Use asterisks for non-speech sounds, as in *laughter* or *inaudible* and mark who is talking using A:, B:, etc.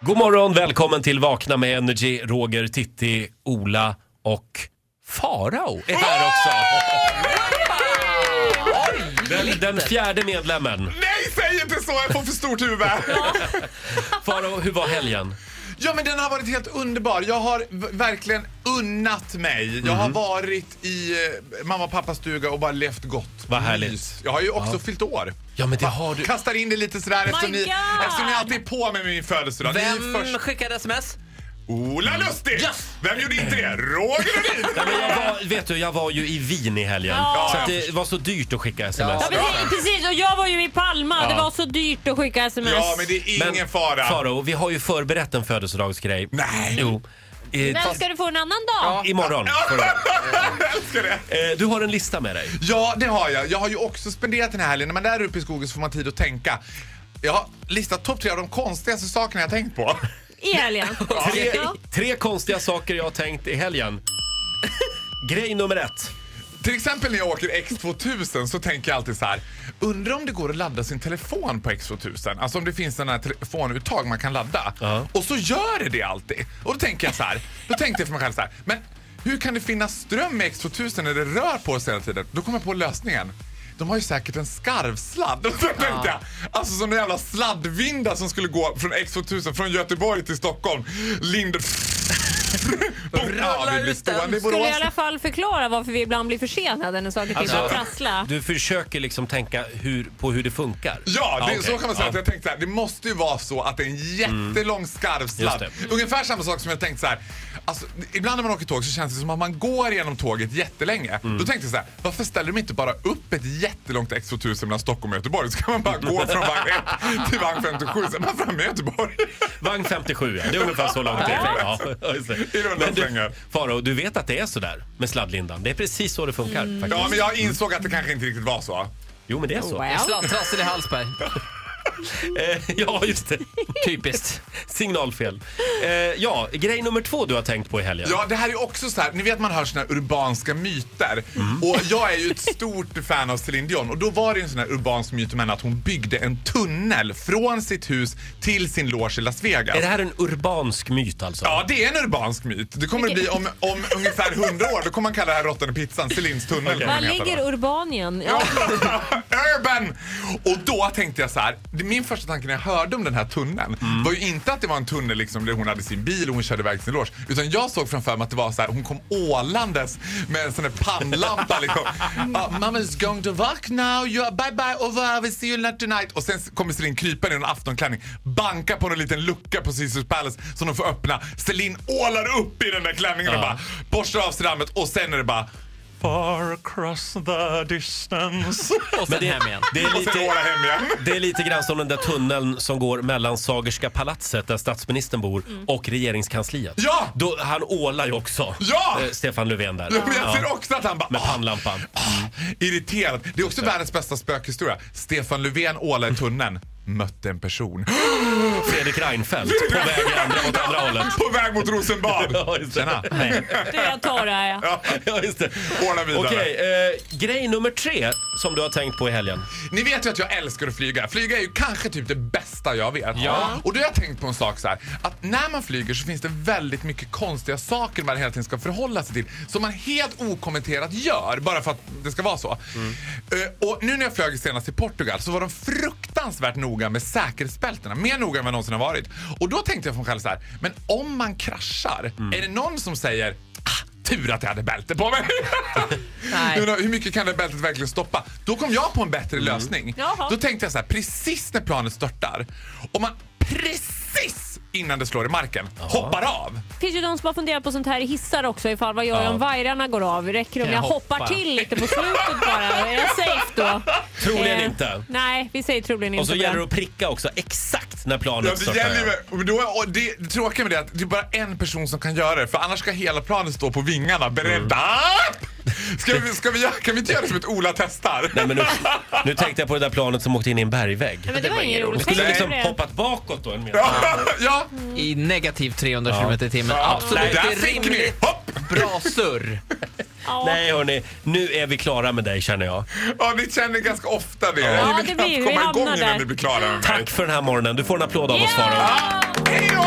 A: God morgon, välkommen till Vakna med Energy. Roger, Titti, Ola och Farao är här också. Den, den fjärde medlemmen.
B: Nej, säg inte så! Jag får för stort huvud.
A: Farao, hur var helgen?
B: Ja, men den har varit helt underbar. Jag har v- verkligen unnat mig. Jag har varit i eh, mamma och pappas stuga och bara levt gott.
A: Vad härligt.
B: Mys. Jag har ju också fyllt år.
A: Ja, men det har du.
B: Kastar in det lite sådär eftersom ni,
C: God!
B: eftersom ni alltid är på mig med min födelsedag. Ni är
D: Vem
B: först-
D: skickade sms?
B: Ola Lustig!
D: Yes!
B: Vem gjorde inte det? Roger Nordin!
A: Nej, men jag var, vet du, jag var ju i Wien i helgen.
C: Ja.
A: Så att det var så dyrt att skicka sms.
D: Ja.
C: Ja, precis, precis, och jag var ju i Palma. Det var så dyrt att skicka sms.
B: Ja, men det är ingen fara.
A: Farao, vi har ju förberett en födelsedagsgrej.
B: Nej.
A: Jo. Eh,
C: Men ska du få en annan dag?
A: Imorgon. får du.
B: Jag älskar det!
A: Eh, Du har en lista med dig.
B: Ja, det har jag. Jag har ju också spenderat den här helgen. När man är där uppe i skogen så får man tid att tänka. Jag har listat topp tre av de konstigaste sakerna jag tänkt på.
C: I helgen?
A: Tre,
C: Ja.
A: tre konstiga saker jag har tänkt i helgen. Grej nummer ett.
B: Till exempel när jag åker X2000 så tänker jag alltid så här. Undrar om det går att ladda sin telefon på X2000? Alltså om det finns den här telefonuttag man kan ladda.
A: Ja.
B: Och så gör det det alltid. Och då tänker jag så här. Då tänkte jag för mig själv så här. Men hur kan det finnas ström i X2000 när det rör på sig hela tiden? Då kommer jag på lösningen. De har ju säkert en skarvsladd. *laughs* Och så tänkte jag, alltså som en jävla sladdvinda som skulle gå från X2000 från Göteborg till Stockholm. Lind... Boom! Ja, vi
D: Rullar
B: blir
D: ut den.
B: stående i
C: Skulle jag i
B: Borås.
C: alla fall förklara varför vi ibland blir försenade när saker och ting
A: Alltså,
C: ska trassla?
A: Du försöker liksom tänka hur, på hur det funkar.
B: Ja, det,
A: okej.
B: så kan man säga.
A: Ja.
B: Att jag tänkte så här, det måste ju vara så att det är en jättelång skarvsladd.
A: Just
B: Ungefär samma sak som jag tänkte så här. Alltså, ibland när man åker tåg så känns det som att man går genom tåget jättelänge. Då tänkte jag så här, varför ställer de inte bara upp ett jättelångt X2000 mellan Stockholm och Göteborg? Så kan man bara *laughs* gå från vagn 1 till vagn 57, sen är man framme i Göteborg.
A: Vagn 57, ja. Det är ungefär så långt det
B: *laughs*
A: är. Ja, just det.
B: I runda
A: Men du,
B: slängar.
A: Faro, du vet att det är så där med sladdlindan. Det är precis så det funkar. Faktiskt.
B: Mm. Ja, men jag insåg att det kanske inte riktigt var så.
A: Jo, men det är så.
C: Wow.
D: Jag slapp trassel i Hallsberg.
A: Eh, *laughs* ja, just det.
D: Typiskt.
A: Signalfel. Eh, ja, grej nummer två du har tänkt på i helgen.
B: Ja, det här är också så här, ni vet man hör såna här urbanska myter.
A: Mm.
B: Och jag är ju ett stort fan av Céline Dion och då var det en sån här urbansk myt om henne att hon byggde en tunnel från sitt hus till sin loge i Las Vegas.
A: Är det här en urbansk myt alltså?
B: Ja, det är en urbansk myt. Det kommer det bli om, om ungefär 100 år. Då kommer man kalla det här råttan i pizzan Céline's tunnel. kommer
C: Var
B: den heta då.
C: ligger Urbanien? Ja.
B: *laughs* Urban! Och då tänkte jag så här. det- Min första tanke när jag hörde om den här tunneln var ju inte att det var en tunnel liksom, där hon hade sin bil och hon körde iväg till sin loge. Utan jag såg framför mig att det var så här, hon kom ålandes med en sån där pannlampa. liksom. Uh, Mamma is going to work now. You are, bye bye over. I will see you later tonight. Och sen kommer Celine krypande i en aftonklänning. Bankar på en liten lucka på Caesars Palace som de får öppna. Celine ålar upp i den där klänningen och bara borstar av sig dammet. Och sen är det bara Far across the distance.
D: Och sen
A: det,
D: hem igen.
A: Det är,
B: Och sen
A: lite,
B: åla hem igen.
A: det är lite grann som den där tunneln som går mellan Sagerska palatset där statsministern bor
C: Mm.
A: och regeringskansliet.
B: Ja!
A: Då, han ålar ju också
B: Ja!
A: eh, Stefan Löfven där.
B: Men jag
A: Ja,
B: ser också att han bara...
A: med
B: "Ah,
A: pannlampan.
B: ah", Irriterad. Det är också världens bästa spökhistoria. Stefan Löfven ålade i tunneln. Mötte en person.
A: Fredrik Reinfeldt på väg i andra, åt andra hållet.
B: På väg mot
A: Ja,
B: Rosenbad.
A: just det.
B: Tjena.
A: Nej.
C: Du, jag tar det här. Ja.
B: Ja.
A: Ja, just det.
B: Ordna vidare.
A: Okej, eh, grej nummer tre som du har tänkt på i helgen.
B: Ni vet ju att jag älskar att flyga. Flyga är ju kanske typ det bästa jag vet.
D: Ja.
B: Och då har jag tänkt på en sak så här. Att när man flyger så finns det väldigt mycket konstiga saker man hela tiden ska förhålla sig till. Som man helt okommenterat gör bara för att det ska vara så. Eh, och nu när jag flög senast till Portugal så var de fruktansvärt noga med säkerhetsbältena. Mer noga än vad jag någonsin har varit. Och då tänkte jag för mig själv så här. Men om man kraschar, är det någon som säger ah, Tur att jag hade bälte på mig.
D: *laughs* Nej.
B: Nu, hur mycket kan det bältet verkligen stoppa? Då kom jag på en
A: Mm.
B: bättre lösning.
C: Jaha.
B: Då tänkte jag så här, precis när planet störtar, om man precis innan det slår i marken hoppar av.
C: finns ju de som har funderat på sånt här i hissar också. Ifall vad gör
A: Ja.
C: jag om vajrarna går av? Räcker det om
A: Jag
C: jag hoppar
A: hoppar.
C: till lite på slutet bara? Är jag safe då?
A: Troligen
C: Eh,
A: inte.
C: Nej, vi säger troligen inte.
A: Och så
C: på
A: gäller
C: den.
A: det att pricka också exakt när
B: Ja,
A: planet
B: det,
A: störtar.
B: gäller,
A: över.
B: ju- och då, och det, det tråkiga med det är att det är bara en person som kan göra det för annars ska hela planet stå på vingarna
A: Mm.
B: beredda. Ska vi, ska vi, göra- kan vi inte göra det som ett Ola testar?
A: Nej, men nu, nu tänkte jag på det där planet som åkte in i en bergvägg.
C: Men det var inget roligt.
A: Skulle
C: Tänk
A: liksom
C: på det.
A: hoppat bakåt då en meter.
B: Ja, *laughs* ja.
D: I negativ 300
A: Ja.
D: km i timmen.
B: Ja,
D: Absolut, det
B: där
D: är
B: fick ni!
D: rimligt.
B: Hopp!
D: Bra surr.
C: Ja.
A: Nej hörni, nu är vi klara med dig känner jag.
B: Ja, ni känner ganska ofta det.
C: Ja,
B: ni
C: det
B: vill
C: blir-
B: knappt
C: vi
B: komma igång
C: hamnar
B: innan
C: där.
B: ni blir klara med mig.
A: Tack för den här morgonen. Du får en applåd av oss
C: Ja!
A: Farao.
B: Hej då!